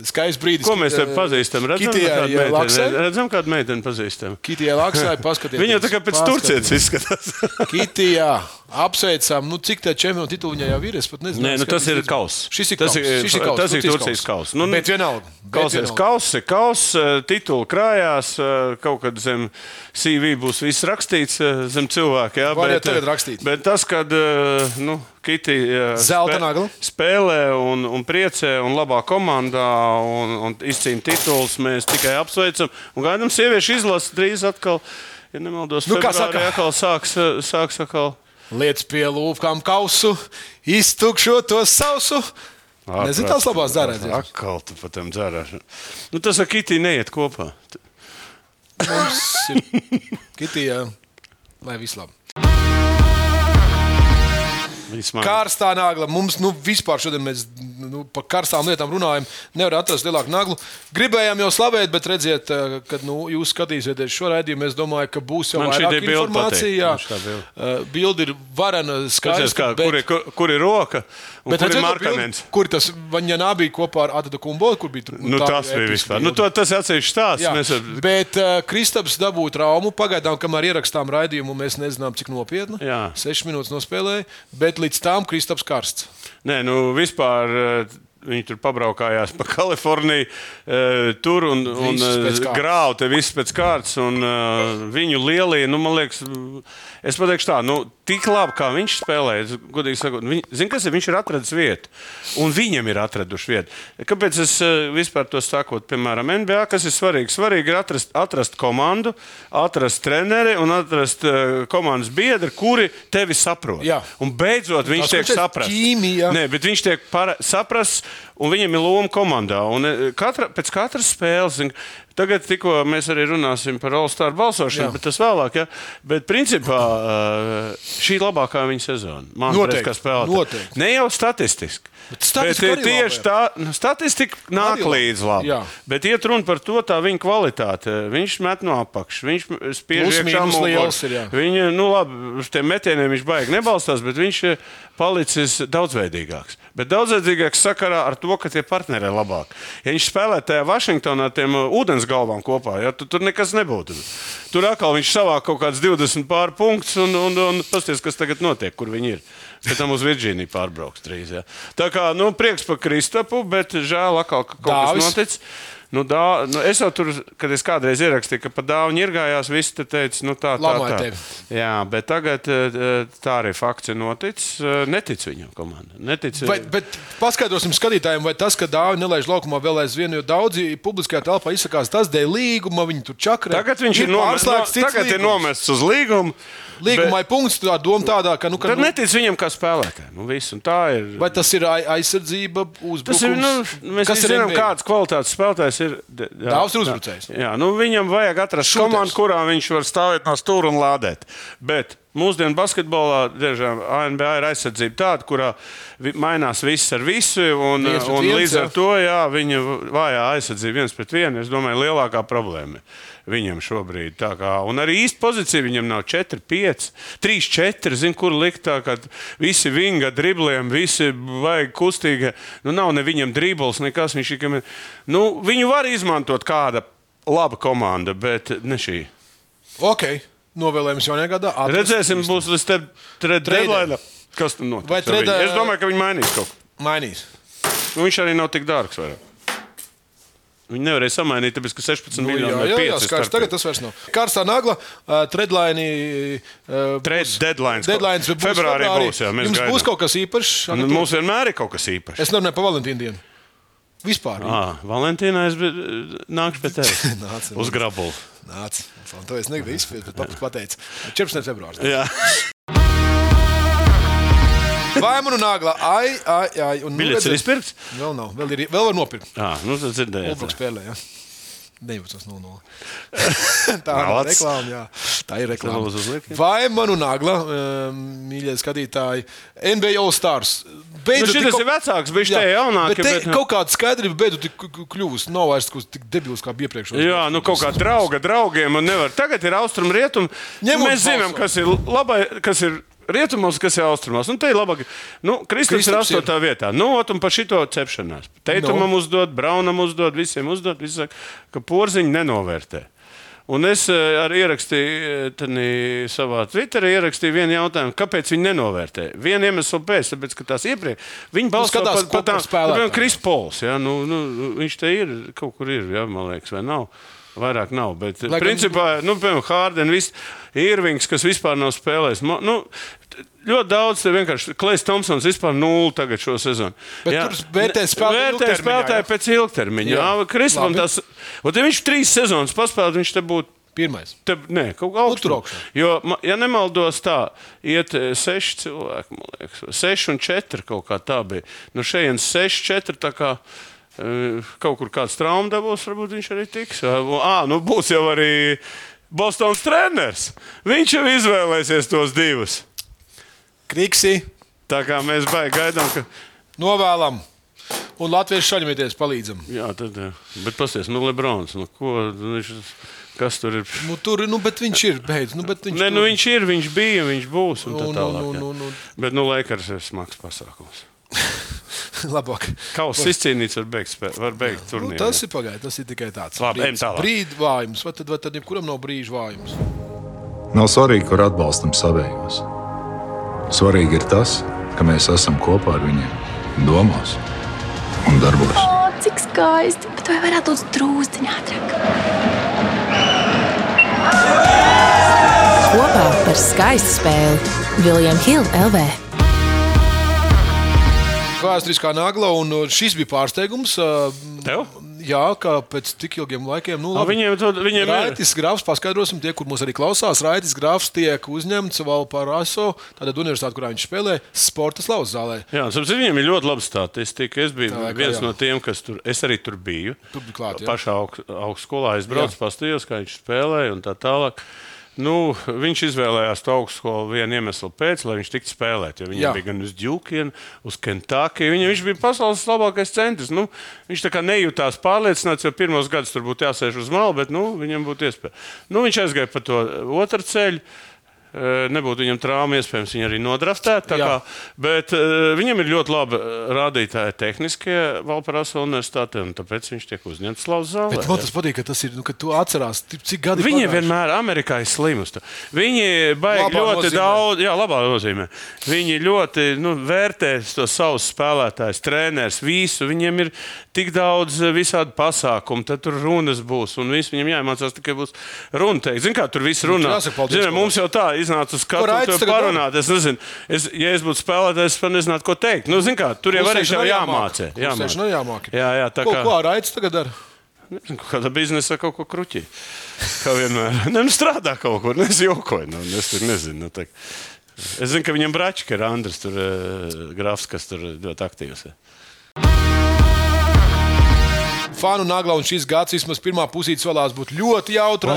Speaker 3: skaists brīdis.
Speaker 2: Ko mēs te pazīstam? Redzam,
Speaker 3: eh, Kitijā,
Speaker 2: kādu
Speaker 3: jā, laksē.
Speaker 2: meiteni, redzam kādu meiteni pazīstam.
Speaker 3: Kitijā Laksai, paskatieties.
Speaker 2: Viņa jau tā kā pēc Turcijas izskatās.
Speaker 3: Kitijā apsveicām, nu cik tā čempionu titulu viņai jau ir, es pat nezinu.
Speaker 2: Nē, nu
Speaker 3: es
Speaker 2: tas ir
Speaker 3: nezinu.
Speaker 2: kauss.
Speaker 3: Šis ir
Speaker 2: tas
Speaker 3: kauss. šis ir kauss,
Speaker 2: Tas ir
Speaker 3: Turcijas
Speaker 2: Turcijas kauss.
Speaker 3: Nu, bet vienalga. bet
Speaker 2: Kausas,
Speaker 3: vienalga.
Speaker 2: kausas, kausas, titula eh, krājās, eh, kaut kad zem CV būs viss rakstīts, eh, zem cilvēka. Jā,
Speaker 3: Var jau
Speaker 2: eh,
Speaker 3: tagad rakstīt.
Speaker 2: Bet tas, kad eh, nu, Kiti eh,
Speaker 3: Zelta
Speaker 2: spē-
Speaker 3: nagla.
Speaker 2: spēlē un, un priecē un labā komandā un, un izcīna titulus, mēs tikai apsveicam. Un gaidām sieviešu izlasi drīz atkal, ja nemaldos,
Speaker 3: Nu, kā
Speaker 2: februārī
Speaker 3: saka?
Speaker 2: atkal sāks, eh, sāks atkal.
Speaker 3: Liec pie lūpām kausu, iztukšo to sausu. Nezinu, tās labās dzērēs. jā.
Speaker 2: Akal tu pat tam dzērēšanu. Nu, tas ar Kitī neiet kopā. T-
Speaker 3: Mums ir Kitijā, lai viss labi.
Speaker 2: viņi smagi.
Speaker 3: Karstā nagla. Mums nu, vispār šodien mēs nu, par karstām lietām runājam. Nevar atrast lielāku naglu. Gribējām jau slavēt, bet redziet, eh, kad nu, jūs skatīsieties šo raidījumu, es domāju, ka būs jau
Speaker 2: Man šī
Speaker 3: vairāk
Speaker 2: ideja bilde
Speaker 3: informācijas.
Speaker 2: patīk.
Speaker 3: Jā,
Speaker 2: Man šitā bilde.
Speaker 3: Eh, bilde ir varena,
Speaker 2: Skaties, kā,
Speaker 3: skaista.
Speaker 2: kur, ir, kur, kur ir roka un kur ir
Speaker 3: redzēt,
Speaker 2: markanens?
Speaker 3: kur tas Vaņģanā bija kopā ar Adatu Kumbo, kur bija tur.
Speaker 2: Nu,
Speaker 3: tā
Speaker 2: tas bija
Speaker 3: episka
Speaker 2: vispār.
Speaker 3: bilde.
Speaker 2: Nu, to, tas ir atsevišķs stāsts.
Speaker 3: Jā,
Speaker 2: Mēs, ar-
Speaker 3: bet uh, Kristaps dabūja traumu. Pagaidām, kamēr ierakstām raidījumu, mēs nezinām, cik nopietni.
Speaker 2: Jā.
Speaker 3: Sešas minūtes nospēlēja, bet līdz tam Kristaps karsts.
Speaker 2: nē, nu, vispār. eh, Viņi tur pabraukājās pa Kaliforniju, eh, tur un, un
Speaker 3: Visus pēc
Speaker 2: eh,
Speaker 3: kārtas.
Speaker 2: grāva te viss pēc kārtas. Un, eh, viņu lielie, nu, man liekas, mm, es pateikšu tā, nu, tik labi, kā viņš spēlēja. es Godīgi sakot, viņ, zin, kas ir, viņš ir atradzis vietu, un viņam ir atraduši vietu. Kāpēc es eh, vispār to saku, piemēram, NBA, kas ir svarīgi? Svarīgi ir atrast, atrast komandu, atrast treneri un atrast eh, komandas biedri, kuri tevi saprot.
Speaker 3: Jā.
Speaker 2: Un beidzot, viņš
Speaker 3: Tas,
Speaker 2: tiek
Speaker 3: ko šeit
Speaker 2: saprasts.
Speaker 3: ķīmija.
Speaker 2: Nē, bet viņš tiek para- saprasts, un viņam ir loma komandā. Un, e, katra, pēc katras spēles, zin, tagad tikko mēs arī runāsim par All-Star balsošanu,
Speaker 3: Jā.
Speaker 2: Jā. bet tas vēlāk. Ja? Bet principā ā, šī ir labākā viņa sezona. Man
Speaker 3: Noteikti,
Speaker 2: liekas, kā spēlētāja.
Speaker 3: noteikti.
Speaker 2: Ne jau statistiski.
Speaker 3: Bet statistika
Speaker 2: Bet, e,
Speaker 3: arī
Speaker 2: tieši
Speaker 3: laba,
Speaker 2: tā, nu, statistika nāk
Speaker 3: Arī laba.
Speaker 2: līdzi labi.
Speaker 3: Jā.
Speaker 2: Bet iet runa par to tā viņa kvalitāti. Viņš met no apakšas, viņš
Speaker 3: Plus,
Speaker 2: spiež iekšā
Speaker 3: mīnus
Speaker 2: muguru.
Speaker 3: liels ir, jā.
Speaker 2: Viņa, nu, labi, uz tiem metieniem viņš baigi nebalstās, bet viņš ir palicis daudzveidīgāks. Bet daudzveidīgāks sakarā ar to, ka tie partneri ir labāki. Ja viņš spēlē tajā Vašingtonā ar tiem uh, ūdens galvām kopā, ja, tad tur nekas nebūtu. Tur atkal viņš savāk kaut kāds 20 pār punktus un, un, un pasties, kas tagad notiek, kur viņi ir. Pēc tam uz Virģīniju pārbrauks drīz. Ja. Tā kā, nu, prieks par Kristapu, bet žēl atkal, ka kaut Dāvis.
Speaker 3: Dāvis.
Speaker 2: kas notiek noticis. Nu, dā, nu, es jau tur, kad es kādreiz ierakstīju, ka pa dāvanu ir gājās, visi te teica, nu tā, tā,
Speaker 3: Lamāj
Speaker 2: tā.
Speaker 3: tevi.
Speaker 2: Jā, bet tagad eh, tā arī fakts ir noticis. Eh, Netic viņam, komanda. Netic.
Speaker 3: Vai, bet paskaidrosim skatītājiem, vai tas, ka dāvana nelaiž laukumā vēl aizvien, jo daudzi publiskajā telpā izsakās tas dēļ līguma, viņi tur čakrē.
Speaker 2: Tagad viņš ir, nomest, no,
Speaker 3: pārslēgts cits
Speaker 2: tagad ir
Speaker 3: līgums.
Speaker 2: nomests uz līgumu.
Speaker 3: Līgumā ir punkts, tā doma tādā, ka, nu, ka
Speaker 2: Tad
Speaker 3: nu,
Speaker 2: netic viņam kā spēlētājam. Nu, viss, un tā ir.
Speaker 3: vai tas ir ai- aizsardzība, uzbrukums?
Speaker 2: Tas ir, nu, mēs
Speaker 3: Kas
Speaker 2: visi zinām,
Speaker 3: NBA?
Speaker 2: kāds kvalitātes spēlētājs ir. d- jā,
Speaker 3: Dāvs ir
Speaker 2: jā.
Speaker 3: uzbrucējs.
Speaker 2: Jā, nu, viņam vajag atrast
Speaker 3: Šūters.
Speaker 2: komandu, kurā viņš var stāvēt no stūra un lādēt. Bet Mūsdienu basketbolā diemžēl, ANBA ir aizsardzība tāda, kurā vi- mainās viss ar visu. Un,
Speaker 3: Viens pret
Speaker 2: un
Speaker 3: viens,
Speaker 2: līdz
Speaker 3: jā.
Speaker 2: ar to jā, viņa vājā aizsardzība viens pret vienu, es domāju, lielākā problēma viņam šobrīd. Tā Kā, un arī īsta pozīcija viņam nav 4, 5, 3, 4. Zinu, kur likt tā, ka visi vinga dribliem, visi vajag kustīgi. Nu, nav ne viņam dribbles, nekas. Viņš, ikam- nu, viņu var izmantot kāda laba komanda, bet ne šī.
Speaker 3: Ok, novēlējums jaunajā gadā. atrast-
Speaker 2: Redzēsim, būs līdz te- tre- deadline. Kas tur notiks?
Speaker 3: Vai
Speaker 2: ar viņu?
Speaker 3: trade-
Speaker 2: Es domāju, ka viņi mainīs kaut ko.
Speaker 3: Mainīs.
Speaker 2: Nu, Viņš arī nav tik dārgs. Vairāk. Viņi nevarēja samainīt, tāpēc ka 16
Speaker 3: Nu,
Speaker 2: miljoni
Speaker 3: jā,
Speaker 2: vai
Speaker 3: jā,
Speaker 2: 5
Speaker 3: jā, skaidrs. Tagad tas vairs nav. Karstā nagla, uh, treadline. Uh,
Speaker 2: Trade deadlines.
Speaker 3: Deadlines būs
Speaker 2: Februārī būs, jā, mēs
Speaker 3: Jums
Speaker 2: gaidām.
Speaker 3: būs kaut kas īpašs.
Speaker 2: Nu, Mums vienmēr ir kaut kas īpašs.
Speaker 3: Es nerunāju par Valentīnu dienu. Vispār.
Speaker 2: Ah, Valentīnā es biju- nākšu pie tevis.
Speaker 3: Nāc,
Speaker 2: Uz grabuli.
Speaker 3: Nāc, un to es negribu izspiest, bet labs pateicis. 14. februāris.
Speaker 2: Jā.
Speaker 3: Vai man un nāgla? Ai, ai, ai. Un, nu,
Speaker 2: Biļets ir
Speaker 3: redzēt-
Speaker 2: izpirkts.
Speaker 3: Vēl nav, vēl, ir, vēl var nopirkt.
Speaker 2: Jā, nu tas
Speaker 3: Ulbruk
Speaker 2: dzirdējāt.
Speaker 3: spēlē, jā. 19.00. Tā
Speaker 2: Nāc.
Speaker 3: ir reklāma, jā. Tā ir
Speaker 2: būs uz
Speaker 3: reklāma.
Speaker 2: liepiem.
Speaker 3: Vai man un nāgla, um, mīļie skatītāji, NBA All Stars. Beidzot,
Speaker 2: Nu, šitas
Speaker 3: tik-
Speaker 2: ir vecāks, bišķi tie jaunāki,
Speaker 3: Bet te
Speaker 2: bet, nu.
Speaker 3: kaut kāda skaidrība beidzot tik k- k- kļuvusi. Nav vairs kaut kas tik debils kā iepriekš.
Speaker 2: Jā, nu kaut kā drauga draugiem un nevar. Tagad ir austrumu rietumu.
Speaker 3: Ņemot
Speaker 2: Mēs zinām,
Speaker 3: balso.
Speaker 2: kas ir labai, kas ir. Rietumos, kas ir austrumos, un te ir labi. Nu, Kristaps ir
Speaker 3: Kristaps ir. Nu.
Speaker 2: astotā vietā. Nu, ot, un par šito cepšanās. Teitumam no. uzdod, Braunam uzdod, visiem uzdod. Visi saka, ka porziņu nenovērtē. Un es eh, arī ierakstīju eh, tani savā Twitterī, ierakstīju vienu jautājumu, kāpēc viņi nenovērtē. Vienu iemeslu pēc, tāpēc, ka tās iepriekš viņi balsoja
Speaker 3: Nu, skatās,
Speaker 2: par,
Speaker 3: ko
Speaker 2: par tām
Speaker 3: par spēlētāju.
Speaker 2: piemēram, Kris Pols. Ja, nu, nu, viņš te ir kaut kur, ir, ja, man liekas, vai nav. Vairāk nav. Bet,
Speaker 3: gan-
Speaker 2: Lai principā, nu, piemēram, Hārdens, Irvings, kas vispār nav spēlējis. Ma- Nu, t- ļoti daudz, te vienkārši Klais Thompsons vispār nulle tagad šo sezonu.
Speaker 3: Bet tur vērtē spēlētāju
Speaker 2: Vērtē
Speaker 3: ilgtermiņā,
Speaker 2: spēlētāju
Speaker 3: jā.
Speaker 2: pēc ilgtermiņa. Jā,
Speaker 3: Jā.
Speaker 2: jā Kristam
Speaker 3: Labi.
Speaker 2: tas. Un ja viņš trīs sezonas paspēlēja, viņš te būtu.
Speaker 3: Pirmais.
Speaker 2: Te, nē, kaut kā
Speaker 3: tur
Speaker 2: augstāk.
Speaker 3: augšā.
Speaker 2: Jo, ma- ja nemaldos, tā iet e, seši cilvēki, man liekas, seši un četri kaut kā tā bija. Nu, šeit seši, četri. tā kā, e, Kaut kur kāds traumas dabūs, varbūt viņš arī tiks. Ā, nu būs jau arī Bostonas treneris. Viņš jau izvēlēsies tos divus.
Speaker 3: Kriksi.
Speaker 2: Tā kā mēs baigi gaidām, ka.
Speaker 3: Novēlam. Un Latvijas šaļamieties palīdzam.
Speaker 2: Jā, tad. e, Bet paskatieties, nu, Lebrons. Nu, ko, nu, viņš, kas tur ir?
Speaker 3: Nu, tur, nu, bet viņš ir beidz. Nu, bet viņš,
Speaker 2: Nē, nu
Speaker 3: tur-
Speaker 2: viņš ir, viņš bija, viņš būs. Un tā
Speaker 3: Nu, nu,
Speaker 2: tālāk,
Speaker 3: nu,
Speaker 2: jā.
Speaker 3: nu, nu.
Speaker 2: Bet, nu, Lakers ir smags pasākums.
Speaker 3: labāk.
Speaker 2: Kaus izcīnīts, var beigt, spē- var beigt
Speaker 3: Nu,
Speaker 2: turnīru.
Speaker 3: tas ir pagaidām, tas ir tikai tāds
Speaker 2: Labi, ejam
Speaker 3: brīdis.
Speaker 2: tālāk.
Speaker 3: Brīdi vājums, vai tad, vai tad jebkuram nav brīža vājums?
Speaker 4: Nav svarīgi, kur atbalstam savējos. Svarīgi ir tas, ka mēs esam kopā ar viņiem, domās un darbos.
Speaker 7: O, cik skaisti. Bet vai varētu būt drūzāk, ātrāk?
Speaker 6: Kopā par skaistu spēli Viljams Hilde LV.
Speaker 3: Vēsturiskā nagla, un uh, šis bija pārsteigums. uh,
Speaker 2: Tev?
Speaker 3: Jā, kā pēc tik ilgiem laikiem. Nu,
Speaker 2: Nu,
Speaker 3: labi.
Speaker 2: Viņiem to viņiem ir.
Speaker 3: Raitas grāfs, paskaidrosim, tie, kur mūs arī klausās. Raitas grāfs tiek uzņemts Valparaso, tātad universitāte, kurā viņš spēlē, sporta slavas zālē.
Speaker 2: Jā, saprast, viņiem ir ļoti laba statistika. Es biju
Speaker 3: Tā,
Speaker 2: tā,
Speaker 3: kā
Speaker 2: viens
Speaker 3: jā.
Speaker 2: jā. no tiem, kas tur, es arī tur biju.
Speaker 3: Tur bija klāt, jā.
Speaker 2: Pašā aug, augstskolā es braucu,
Speaker 3: Jā.
Speaker 2: paskatījos, kā viņš spēlēja un tā tālāk. Nu, viņš izvēlējās to augstskolu vienu iemeslu pēc, lai viņš tiktu spēlēt. jo Viņam jā.
Speaker 3: Jā.
Speaker 2: bija gan uz Džukiju, uz Kentākiju. Viņam viņš bija pasaules labākais centrs. Nu, viņš tā kā nejūtās pārliecināts, jo pirmos gadus tur būtu jāsēž uz malas, bet nu, viņam būtu iespēja. Nu, viņš aizgāja pa to otru ceļu. Eh, Nebūtu viņam traumas, iespējams, viņa arī nodraftēta. tā
Speaker 3: Jā.
Speaker 2: kā, Bet eh, viņam ir ļoti labi eh, rādītāji tehniskie Valparaiso universitātē, un tāpēc viņš tiek uzņemts Slavas zālē.
Speaker 3: Bet man tas patīk, ka tas ir, nu, ka tu atceries, ti- cik gadi
Speaker 2: Viņi
Speaker 3: pagājuši.
Speaker 2: vienmēr Amerikā ir slimus. Viņi baigi ļoti
Speaker 3: Labā nozīmē.
Speaker 2: nozīmē. daudz, jā, labā nozīmē. Viņi ļoti nu, vērtē to savus spēlētājus, treneris, visu. Viņiem ir tik daudz eh, visādi pasākumu, tad tur runas būs un viss viņiem jāiemācās tikai būs runa teikt. Zini, kā tur viss runā?
Speaker 3: Nu, jāsaka paldies,
Speaker 2: Zini,
Speaker 3: paldies.
Speaker 2: mums jau tā iznāca uz skatu, un
Speaker 3: Raicis
Speaker 2: tev
Speaker 3: tagad
Speaker 2: parunāt. Es nezinu, es, ja es būtu spēlētājs, es pat nezinātu, ko teikt. Nu, zini, kā, tur jau arī
Speaker 3: Klusēšana
Speaker 2: jau
Speaker 3: jāmāk.
Speaker 2: jāmācē.
Speaker 3: Klusēšana jāmāk.
Speaker 2: Jā, jā, tā
Speaker 3: Ko,
Speaker 2: kā.
Speaker 3: ko Raitas tagad dara?
Speaker 2: Nezinu, kaut Kāda biznesa kaut ko kruķī. Kā vienmēr. Nē, nu strādā kaut kur. Nu, es jokoju. Nu, nu, es tur nezinu. Nu, tā kā- es zinu, ka viņam brāķis ir Andris, tur, eh, grafs, kas tur ļoti aktīvs. ir.
Speaker 3: fanu nagla, un šis gads vismaz pirmā pusīte solās būt ļoti jautra. Oh,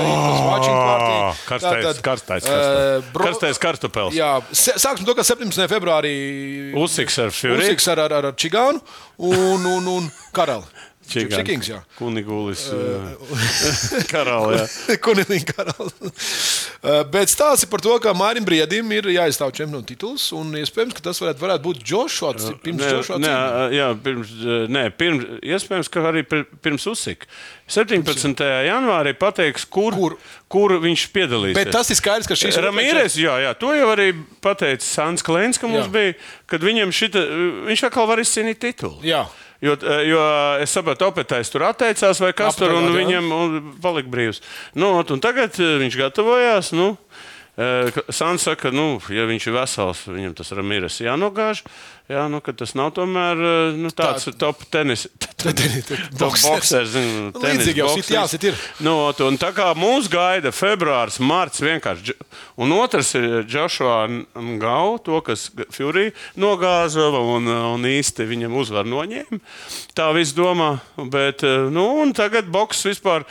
Speaker 2: Ah, karstais, karstais,
Speaker 3: e,
Speaker 2: karstais. Karstais kartupels.
Speaker 3: eh, Jā, se- sāksim to, ka 17. februārī
Speaker 2: Usiks ar Fury.
Speaker 3: Uziks ar, ar, ar, ar Čigānu un, un, un Karali.
Speaker 2: Čigans.
Speaker 3: Čigings, jā.
Speaker 2: Kunigulis.
Speaker 3: E,
Speaker 2: e, Karalē.
Speaker 3: Kunigīgi karalis. Eh, Bet stāsti par to, ka Mārim Briedim ir jāizstāv čempionu tituls, un iespējams, ka tas varētu, varētu būt Joshua.
Speaker 2: Eh,
Speaker 3: Ci- Pirms Joshua
Speaker 2: nē,
Speaker 3: cīņas.
Speaker 2: jā, pirms, nē, pirms, e, iespējams, ka arī pir- pirms Usika. 17. janvārī pateiks, kur, kur?
Speaker 3: Kur?
Speaker 2: kur viņš piedalīsies.
Speaker 3: Bet tas ir skaidrs, ka šis
Speaker 2: Ramīrēs, jā, jā, to jau arī pateica Sants Klēns, ka mums jā.
Speaker 3: Jā.
Speaker 2: bija, kad viņam šita, viņš atkal var izcīnīt titulu.
Speaker 3: Jā.
Speaker 2: Jo, eh, jo es saprotu, apetājs tur atteicās, vai kas tur un
Speaker 3: Apetājā, jā.
Speaker 2: viņam un palika brīvs. Nu, ot, un tagad eh, viņš gatavojās. Nu, eh, ka- Sants saka, ka, nu, ja viņš ir vesels, viņam tas Ramīrēs jānogāž. Jā, nu, ka tas nav tomēr eh, nu, tāds Tā. top tenis. Top boxers, zinu,
Speaker 3: Līdzīgi
Speaker 2: tenis
Speaker 3: jau
Speaker 2: boxers.
Speaker 3: sit- jā, sit ir.
Speaker 2: Nu, ot, un tā kā mūs gaida februāris, mārts vienkārši. Dž- Un otrs ir Joshua Ngau, to, kas Fjurī nogāza un, un īsti viņam uzvaru noņēma. Tā viss domā. Bet, eh, nu, un tagad boks vispār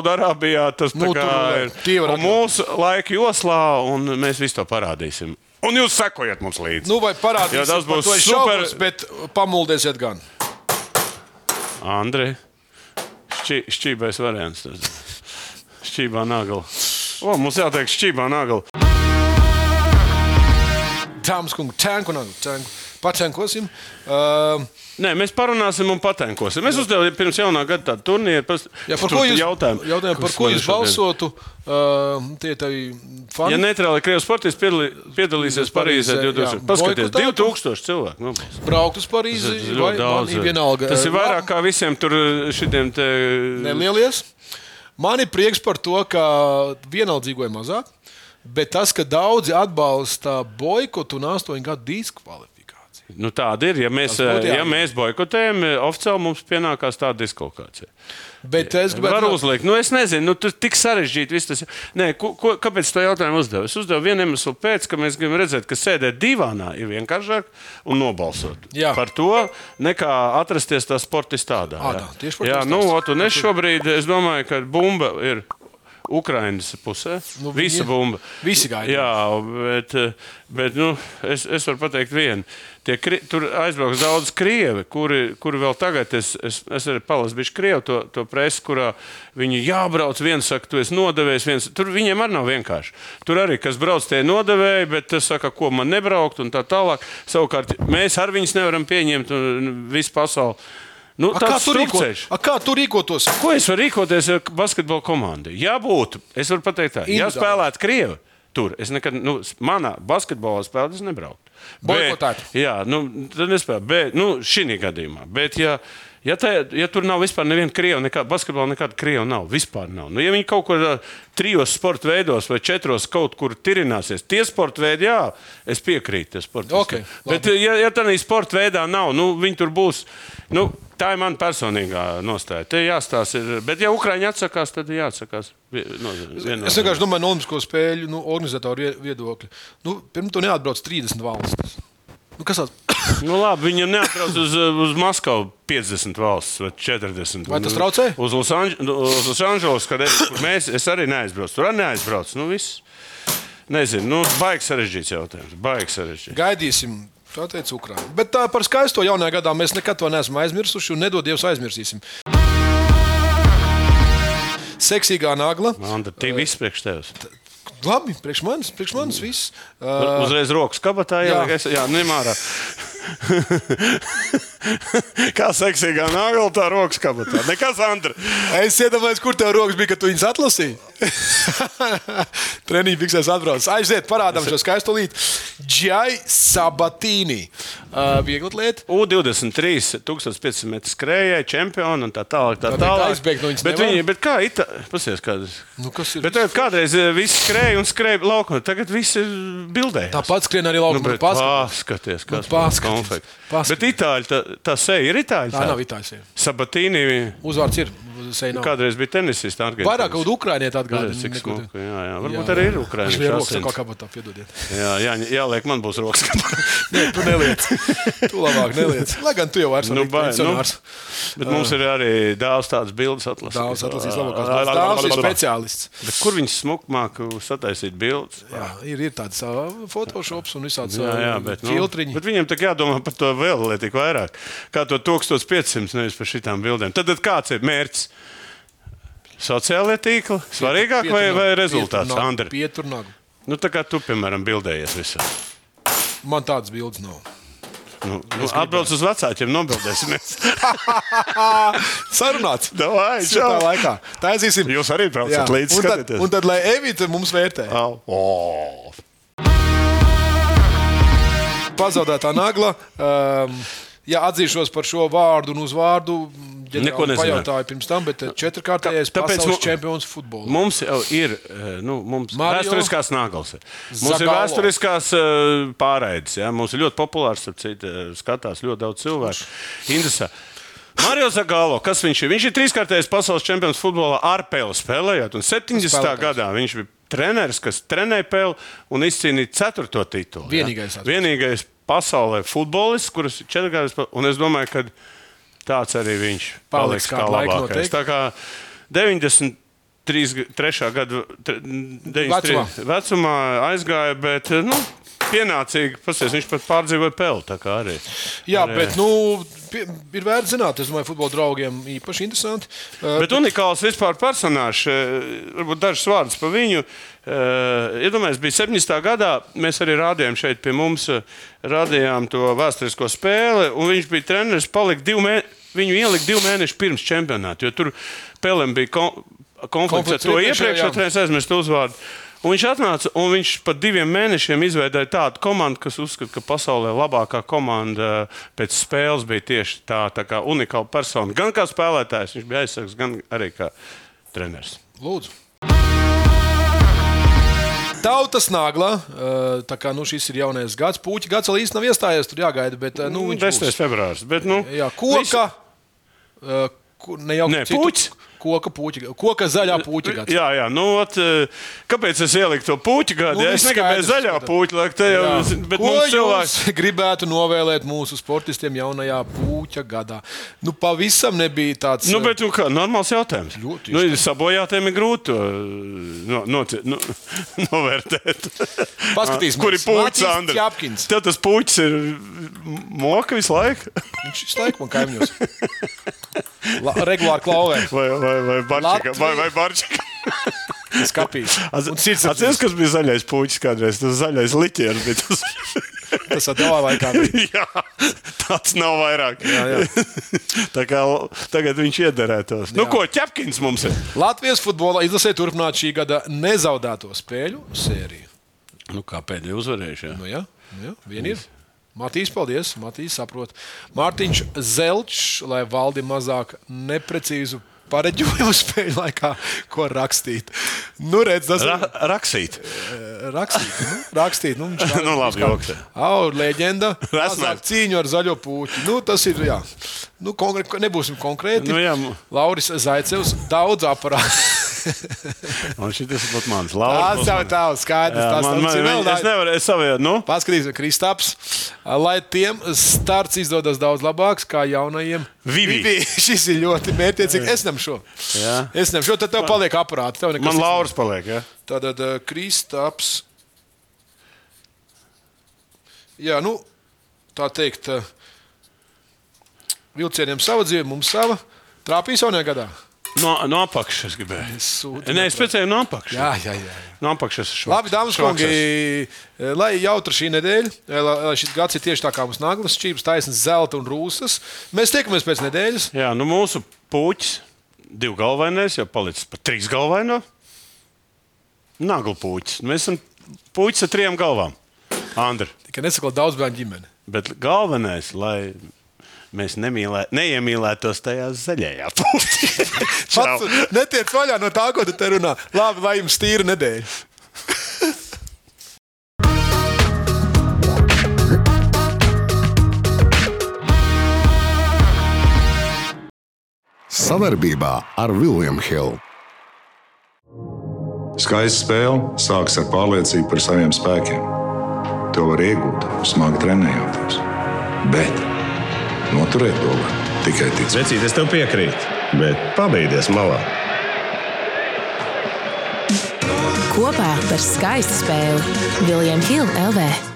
Speaker 2: Saudārābijā tas
Speaker 3: Nu,
Speaker 2: tā kā
Speaker 3: tur
Speaker 2: ir
Speaker 3: tie var
Speaker 2: un mūsu laika joslā, un mēs visu to parādīsim. Un jūs sekojiet mums līdzi.
Speaker 3: Nu, vai parādīsim,
Speaker 2: Jo tas
Speaker 3: par
Speaker 2: būs
Speaker 3: to es
Speaker 2: super.
Speaker 3: šaubos, bet uh, pamuldēsiet gan.
Speaker 2: Andri, šķi, šķībais variants. tas. Šķībā nagla. O, mums jāteikt, šķībā nagla.
Speaker 3: Dāmas kungi, tanku, nāku, tanku. Patankosim. Uh,
Speaker 2: Nē, mēs parunāsim un patenkosim. Es uzdevu pirms jaunā gada tādu turnīru. Pas...
Speaker 3: jā, par
Speaker 2: tur
Speaker 3: ko jūs,
Speaker 2: jautājumu?
Speaker 3: jautājumu, par
Speaker 2: Kas
Speaker 3: ko
Speaker 2: man
Speaker 3: jūs
Speaker 2: šodien-
Speaker 3: balsotu? Uh, tie tavi fani.
Speaker 2: Ja neitrāli krievis sportists piedalī, piedalīsies Parīzē
Speaker 3: Parīzē,
Speaker 2: 2000,
Speaker 3: jā.
Speaker 2: paskatieties,
Speaker 3: Boikotētu?
Speaker 2: 2000 cilvēku. nobalsos.
Speaker 3: braukt uz
Speaker 2: Tas
Speaker 3: Parīzi.
Speaker 2: ir
Speaker 3: vai
Speaker 2: ļoti
Speaker 3: man
Speaker 2: daudz.
Speaker 3: ir vienalga. uh,
Speaker 2: Tas ir
Speaker 3: Lab-
Speaker 2: vairāk kā visiem tur eh, šitiem te.
Speaker 3: nelielies. Man ir prieks par to, ka vienaldzīgo ir mazāk, bet tas, ka daudzi atbalsta boikotu un astoņu gadu diskvalifikāciju.
Speaker 2: Nu, tāda ir. Ja mēs,
Speaker 3: Tas
Speaker 2: eh,
Speaker 3: būtu
Speaker 2: ja
Speaker 3: jāņem.
Speaker 2: mēs boikotējam, eh, oficiāli mums pienākās tāda diskolkācija.
Speaker 3: Bet es
Speaker 2: Var
Speaker 3: gribētu
Speaker 2: uzlikt, nu es nezinu, nu, tur tik sarežģīti viss tas. ir. Nē, ko, ko, kāpēc to jautājumu uzdevu? Es uzdevu vienu iemeslu pēc, ka mēs gribam redzēt, ka sēdēt divānā ir vienkāršāk un nobalsot
Speaker 3: Jā.
Speaker 2: par to, nekā atrasties tā sportistā tādā.
Speaker 3: Ā, tā, tieši par to
Speaker 2: jā,
Speaker 3: es
Speaker 2: nu,
Speaker 3: tās-
Speaker 2: ot, un es šobrīd es domāju, ka bumba ir. Ukraiņas pusē. Nu,
Speaker 3: Nu,
Speaker 2: Visa
Speaker 3: viņi-
Speaker 2: bumba.
Speaker 3: visi gaida.
Speaker 2: Jā, bet, eh, bet nu, es, es varu pateikt, viena. Tie kri- Tur aizbrauks daudz krievi, kuri, kuri vēl tagad, es, es, es arī palasu bišķi krievu to, to presi, kurā viņi jābrauc. Viens saka, tu esi nodevējis, viens tur viņiem arī nav vienkārši. Tur arī, kas brauc, tie ir nodevēji, bet tas saka, ko man nebraukt un tā tālāk. Savukārt mēs ar viņus nevaram pieņemt un visu pasauli. Nu,
Speaker 3: A, kā
Speaker 2: tāds
Speaker 3: tu rīko-
Speaker 2: strupceļš.
Speaker 3: a, kā tu rīkotos?
Speaker 2: Ko es varu rīkoties ar basketbalu komandu? Jā, būtu. Es varu pateikt, tā, ja
Speaker 3: Individuāli.
Speaker 2: spēlētu krievi tur, es nekad, nu, s- manā basketbolā spēlē, es nebrauktu. Bet-
Speaker 3: Boikotētu.
Speaker 2: Jā, nu, tad nespēlētu. Bet, nu, šī gadījumā. Bet, ja, ja, tā, ja tur nav vispār neviena krieva, nekā basketbolā nekāda krieva nav, vispār nav. Nu, ja viņi kaut kur ā, trijos sporta veidos vai četros kaut kur tirināsies, tie sporta veidi, jā, es piekrītu. tie sporta
Speaker 3: Ok,
Speaker 2: veidi. Bet, ja, ja tādā sporta veidā nav, nu, viņi tur būs. Nu, tā ir mana personīgā nostāja. Te jāstāsta, ir- bet ja Ukrāņi atsakās, tad ir jāatsakās. Vi- nu, No,
Speaker 3: Es vienkārši nu- domāju, no Olimpisko spēļu nu, organizatoru vie- viedokļa. Nu, Pirmā tam neatbrauc 30 valstis. Nu, kas tāds?
Speaker 2: Nu, labi, viņa neatrādās uz, uz Maskavu 50 valsts vai 40.
Speaker 3: Vai tas traucē?
Speaker 2: Uz Los Anž- uz Los Angeles, kad es, kur mēs, es arī neaizbraucu. Tur arī neaizbraucu. Nu, viss. Nezinu, nu, baigs sarežģīts jautājums. Baigs sarežģīts.
Speaker 3: Gaidīsim. Tā teica Ukrāna. Bet tā, par skaisto jaunajā gadā mēs nekad to neesam aizmirsuši un nedod Dievs aizmirsīsim. Seksīgā nagla.
Speaker 2: Anda, tie viss priekš tevis.
Speaker 3: Labi, priekš manis, priekš manis viss.
Speaker 2: Tur
Speaker 3: Uh,
Speaker 2: Uzreiz rokas kabatā
Speaker 3: jā.
Speaker 2: ieliek. es- Jā, nemārā. Kā seksīgā nāga, tā rokas kabatā. Nekas, Andri.
Speaker 3: es iedomājos, kur tev rokas bija, kad tu viņus atlasīji. Treniņš fiksēs atbraucis. Aiziet, parādām šo skaisto līniju. Džai Sabatīni. Uh, viegli lieta.
Speaker 2: U23, 1500 metru skrējēji, čempioni un tā tālāk. Tā
Speaker 3: Tad
Speaker 2: tālāk.
Speaker 3: nekā aizbēgt no viņas
Speaker 2: bet
Speaker 3: nevar?
Speaker 2: viņi, bet kā ir? Pasies, kādas.
Speaker 3: Nu, kas ir
Speaker 2: Bet tagad kādreiz eh, viss skrēja un skrēja laukumā, tagad viss ir bildē.
Speaker 3: Tāpat skrien arī
Speaker 2: Nu,
Speaker 3: laukumā.
Speaker 2: bet paskaties,
Speaker 3: Nu,
Speaker 2: kas mums
Speaker 3: paskaties,
Speaker 2: konfekts.
Speaker 3: paskaties.
Speaker 2: Bet itāļi, tā, tā seja ir itāļi.
Speaker 3: Tā nav itāļu sēja.
Speaker 2: Sabatīni.
Speaker 3: Uzvārds ir. seja nav.
Speaker 2: Kādreiz bija tenisists Argentīnas.
Speaker 3: Vairāk kaut kāda ukrainieta
Speaker 2: Redzēt, cik
Speaker 3: atgādina.
Speaker 2: smuki. Jā, jā. Varbūt arī ir
Speaker 3: Viņš bija
Speaker 2: Ukraiņš.
Speaker 3: rokas kaut kā patā, piedodiet.
Speaker 2: Jā, jā, jā, liek, man būs rokas.
Speaker 3: Nē, tu neliec. Tu labāk neliec. Lai gan tu jau vairs
Speaker 2: Nu,
Speaker 3: neesi
Speaker 2: bai, nu.
Speaker 3: pensionārs.
Speaker 2: Bet mums ir arī dāvs tāds bildes atlases.
Speaker 3: Dāvs atlasīs labākās bildes. Dāvs ir speciālists.
Speaker 2: Bet kur viņš smuk māk sataisīt bildes?
Speaker 3: Jā, ir, ir tāds uh, photoshops un visāds
Speaker 2: Jā, jā, bet, nu,
Speaker 3: filtriņi.
Speaker 2: bet viņam tā jādomā par to vēl, lai tik vairāk. Kā to 1500, nevis par šitām bildēm. Tad, tad kāds ir mērķis? Sociālajā tīklā svarīgāk vai, vai rezultāts? Andri,
Speaker 3: Pieturnāk.
Speaker 2: nu, tā kā tu, piemēram, bildējies visā.
Speaker 3: Man tādas bildes nav.
Speaker 2: Nu, nu, atbrauc uz vecākiem, nobildēsimies.
Speaker 3: Sarunāts.
Speaker 2: Davai,
Speaker 3: Tā
Speaker 2: čau.
Speaker 3: laikā. Tā aizīsim.
Speaker 2: Jūs arī braucat līdzi. Ah.
Speaker 3: un, tad,
Speaker 2: skatieties.
Speaker 3: un tad, lai Evita mums vērtē,
Speaker 2: Au. O.
Speaker 3: pazaudētā nagla. Um, Jā, atzīšos par šo vārdu un uzvārdu.
Speaker 2: Neko
Speaker 3: ģenerāli
Speaker 2: nezināju.
Speaker 3: Pajautāju pirms tam, bet eh, četrkārtējais
Speaker 2: Tāpēc
Speaker 3: pasaules
Speaker 2: mu-
Speaker 3: čempions futbolā.
Speaker 2: Mums jau ir eh, nu, mums
Speaker 3: Mario
Speaker 2: vēsturiskās naglas. ir. Mums ir
Speaker 3: Zagallo.
Speaker 2: vēsturiskās eh, pārraides. Ja? Mums ir ļoti populārs, starp citu, eh, skatās ļoti daudz cilvēku. Interesē. Mario Zagalo, kas viņš ir? Viņš ir trīskārtais pasaules čempions futbolā ar pēli spēlējot. Un 70.
Speaker 3: Spēlētājs.
Speaker 2: gadā viņš bija treneris, kas trenēja pēli un izcīnīja ceturto titulu. ja.
Speaker 3: Vienīgais, atceros.
Speaker 2: Vienīgais pasaulē futbolists, kurš ir četrkārtais. pa- Un es domāju, ka tāds arī viņš
Speaker 3: Paliks
Speaker 2: paliks
Speaker 3: kā
Speaker 2: kā
Speaker 3: laika
Speaker 2: labākais.
Speaker 3: noteikti.
Speaker 2: Tā kā 93. gada tre- 93. vecumā aizgāja, bet nu, pienācīgi pasies, viņš pat pārdzīvoja peli. tā kā arī.
Speaker 3: Jā,
Speaker 2: Arī-
Speaker 3: bet nu, pie- ir vērts zināt, es domāju, futbola draugiem īpaši interesanti. Uh,
Speaker 2: Bet unikāls vispār personāžs, eh, varbūt dažs vārds par viņu. Eh, Iedomājieties, bija 70. gadā, mēs arī rādījām šeit pie mums, eh, rādījām to vēsturisko spēli, un viņš bija treneris, palika divu mēnešu. Viņu ielika divu mēnešu pirms čempionāta, jo tur Pelēm bija kon konflikts ar
Speaker 3: Konflikts
Speaker 2: to
Speaker 3: iepriekšējā, jā.
Speaker 2: iepriekšējo treneru, aizmirst uzvārdu. Un viņš atnāca un viņš pat diviem mēnešiem izveidoja tādu komandu, kas uzskata, ka pasaulē labākā komanda eh, pēc spēles bija tieši tā, tā kā unikāla persona. Gan kā spēlētājs, viņš bija aizsargs, gan arī kā treneris.
Speaker 3: Lūdzu. Tautas nagla, eh, tā kā nu, šis ir jaunais gads, puķis gads vēl īsti nav iestājies, tur jāgaida. Bet, eh, nu, viņš
Speaker 2: 10.
Speaker 3: būs.
Speaker 2: februāris. Bet, nu,
Speaker 3: Jā, koka. eh, ku- Ne jau
Speaker 2: Nē, puķis.
Speaker 3: Koka, puķi, koka zaļā puķa gads.
Speaker 2: Jā, jā, nu, ot, eh, kāpēc es ieliku to puķu gadu?
Speaker 3: Nu,
Speaker 2: Nu, es
Speaker 3: viss
Speaker 2: negribēju
Speaker 3: skaidrs,
Speaker 2: zaļā
Speaker 3: skaidrs.
Speaker 2: puķu, lai te jau
Speaker 3: Jā.
Speaker 2: bet
Speaker 3: Ko
Speaker 2: mums
Speaker 3: jūs
Speaker 2: cilvēks.
Speaker 3: gribētu novēlēt mūsu sportistiem jaunajā puķa gadā? Nu, pavisam nebija tāds.
Speaker 2: Nu,
Speaker 3: eh,
Speaker 2: bet nu, kā, normāls jautājums.
Speaker 3: Ļoti
Speaker 2: nu, sabojātiem ir grūti to eh, no, no, no, novērtēt.
Speaker 3: Paskatīsimies.
Speaker 2: kur ir puķis.
Speaker 3: Matīs
Speaker 2: Andri?
Speaker 3: Čapkins.
Speaker 2: Tad tas puķis ir moka visu laiku.
Speaker 3: Viņš visu laiku man kaimiņos. La, regulāri klauvē.
Speaker 2: Vai, vai, vai barčika?
Speaker 3: Latvija.
Speaker 2: Vai, vai barčika?
Speaker 3: Skapīs. Un sirds
Speaker 2: Atceries, kas bija zaļais puķis kādreiz. Tas zaļais liķieris bija tas.
Speaker 3: Tas ir tavā laikā. bija.
Speaker 2: jā, tāds nav vairāk.
Speaker 3: Jā,
Speaker 2: Tā kā l- tagad viņš iederētos. Nu,
Speaker 3: Jā.
Speaker 2: ko ķepkins mums ir?
Speaker 3: Latvijas futbola izlasē turpināt šī gada nezaudēto spēļu sēriju.
Speaker 2: Nu, kā pēdējo uzvarējušajā?
Speaker 3: Nu, jā, nu, jā vien ir. Matīs, paldies. Matīs, saprot. Mārtiņš Zelčs, lai valdi mazāk neprecīzu pareģojumu spēļu laikā, ko rakstīt. Nu, redz, tas
Speaker 2: Ra rakstīt.
Speaker 3: ir rakstīt. Nu, rakstīt nu, viņš tā-
Speaker 2: nu, labi, joks.
Speaker 3: Au, leģenda.
Speaker 2: Rasmēr.
Speaker 3: Mazāk cīņu ar zaļo puķi. Nu, tas ir. Jā. Nu, konkrē, nebūsim konkrēti.
Speaker 2: Nu, jā, mu-
Speaker 3: Lauris Zaicevs daudz aparātu.
Speaker 2: Un šis būtu mans
Speaker 3: Tas
Speaker 2: labākais.
Speaker 3: jau tāds skaidrs.
Speaker 2: Jā,
Speaker 3: Tas
Speaker 2: man, man,
Speaker 3: tāds ir
Speaker 2: man,
Speaker 3: vēl
Speaker 2: es nevaru, es savai, nu,
Speaker 3: Paskatīsimies, Kristaps. Lai tiem starts izdodas daudz labāks, kā jaunajiem.
Speaker 2: Vivi.
Speaker 3: Šis ir ļoti mērķiecīgs. Es nem šo.
Speaker 2: Jā.
Speaker 3: Es nem šo. Tad tev paliek aparāti. Tev nekas
Speaker 2: man
Speaker 3: cits nav.
Speaker 2: Lauris paliek. Ja?
Speaker 3: Tātad eh, Kristaps. Jā, nu, tā teikt, eh, vilcieniem sava dzīve, mums sava. Trāpīs jaunajā gadā.
Speaker 2: No, no apakšas es gribēju.
Speaker 3: Es sūtu
Speaker 2: Nē, es pēcēju no apakšas.
Speaker 3: Jā, jā, jā.
Speaker 2: No apakšas šo.
Speaker 3: Labi, dāmas un kungi, eh, lai jautra šī nedēļa, eh, lai lai šis gads ir tieši tā kā mums naglas, čības, taisnas, zelta un rūsas. Mēs tiekamies pēc nedēļas.
Speaker 2: Jā, nu mūsu puķis, divu galvenais, jau palicis par trīs galveno. Nagla puķis. Mēs esam puķis ar trijām galvām. Andri.
Speaker 3: Tikai nesakot daudz bērnu ģimeni.
Speaker 2: Bet galvenais, lai mēs nemīlē, neiemīlētos tajā zaļajā puķī.
Speaker 3: Pats netiec vaļā no tā, ko tu te runā. Labi, lai jums tīra nedēļa.
Speaker 1: Savarbībā ar Vilniem Hilu
Speaker 4: Skaista spēle sākas ar pārliecību par saviem spēkiem. To var iegūt, smagi trenējoties. Bet noturēt to var tikai ticēt.
Speaker 5: Vecīt, es tev piekrītu, bet pabeigties malā.
Speaker 6: Kopā par skaistu spēli Viljams Hilde LV.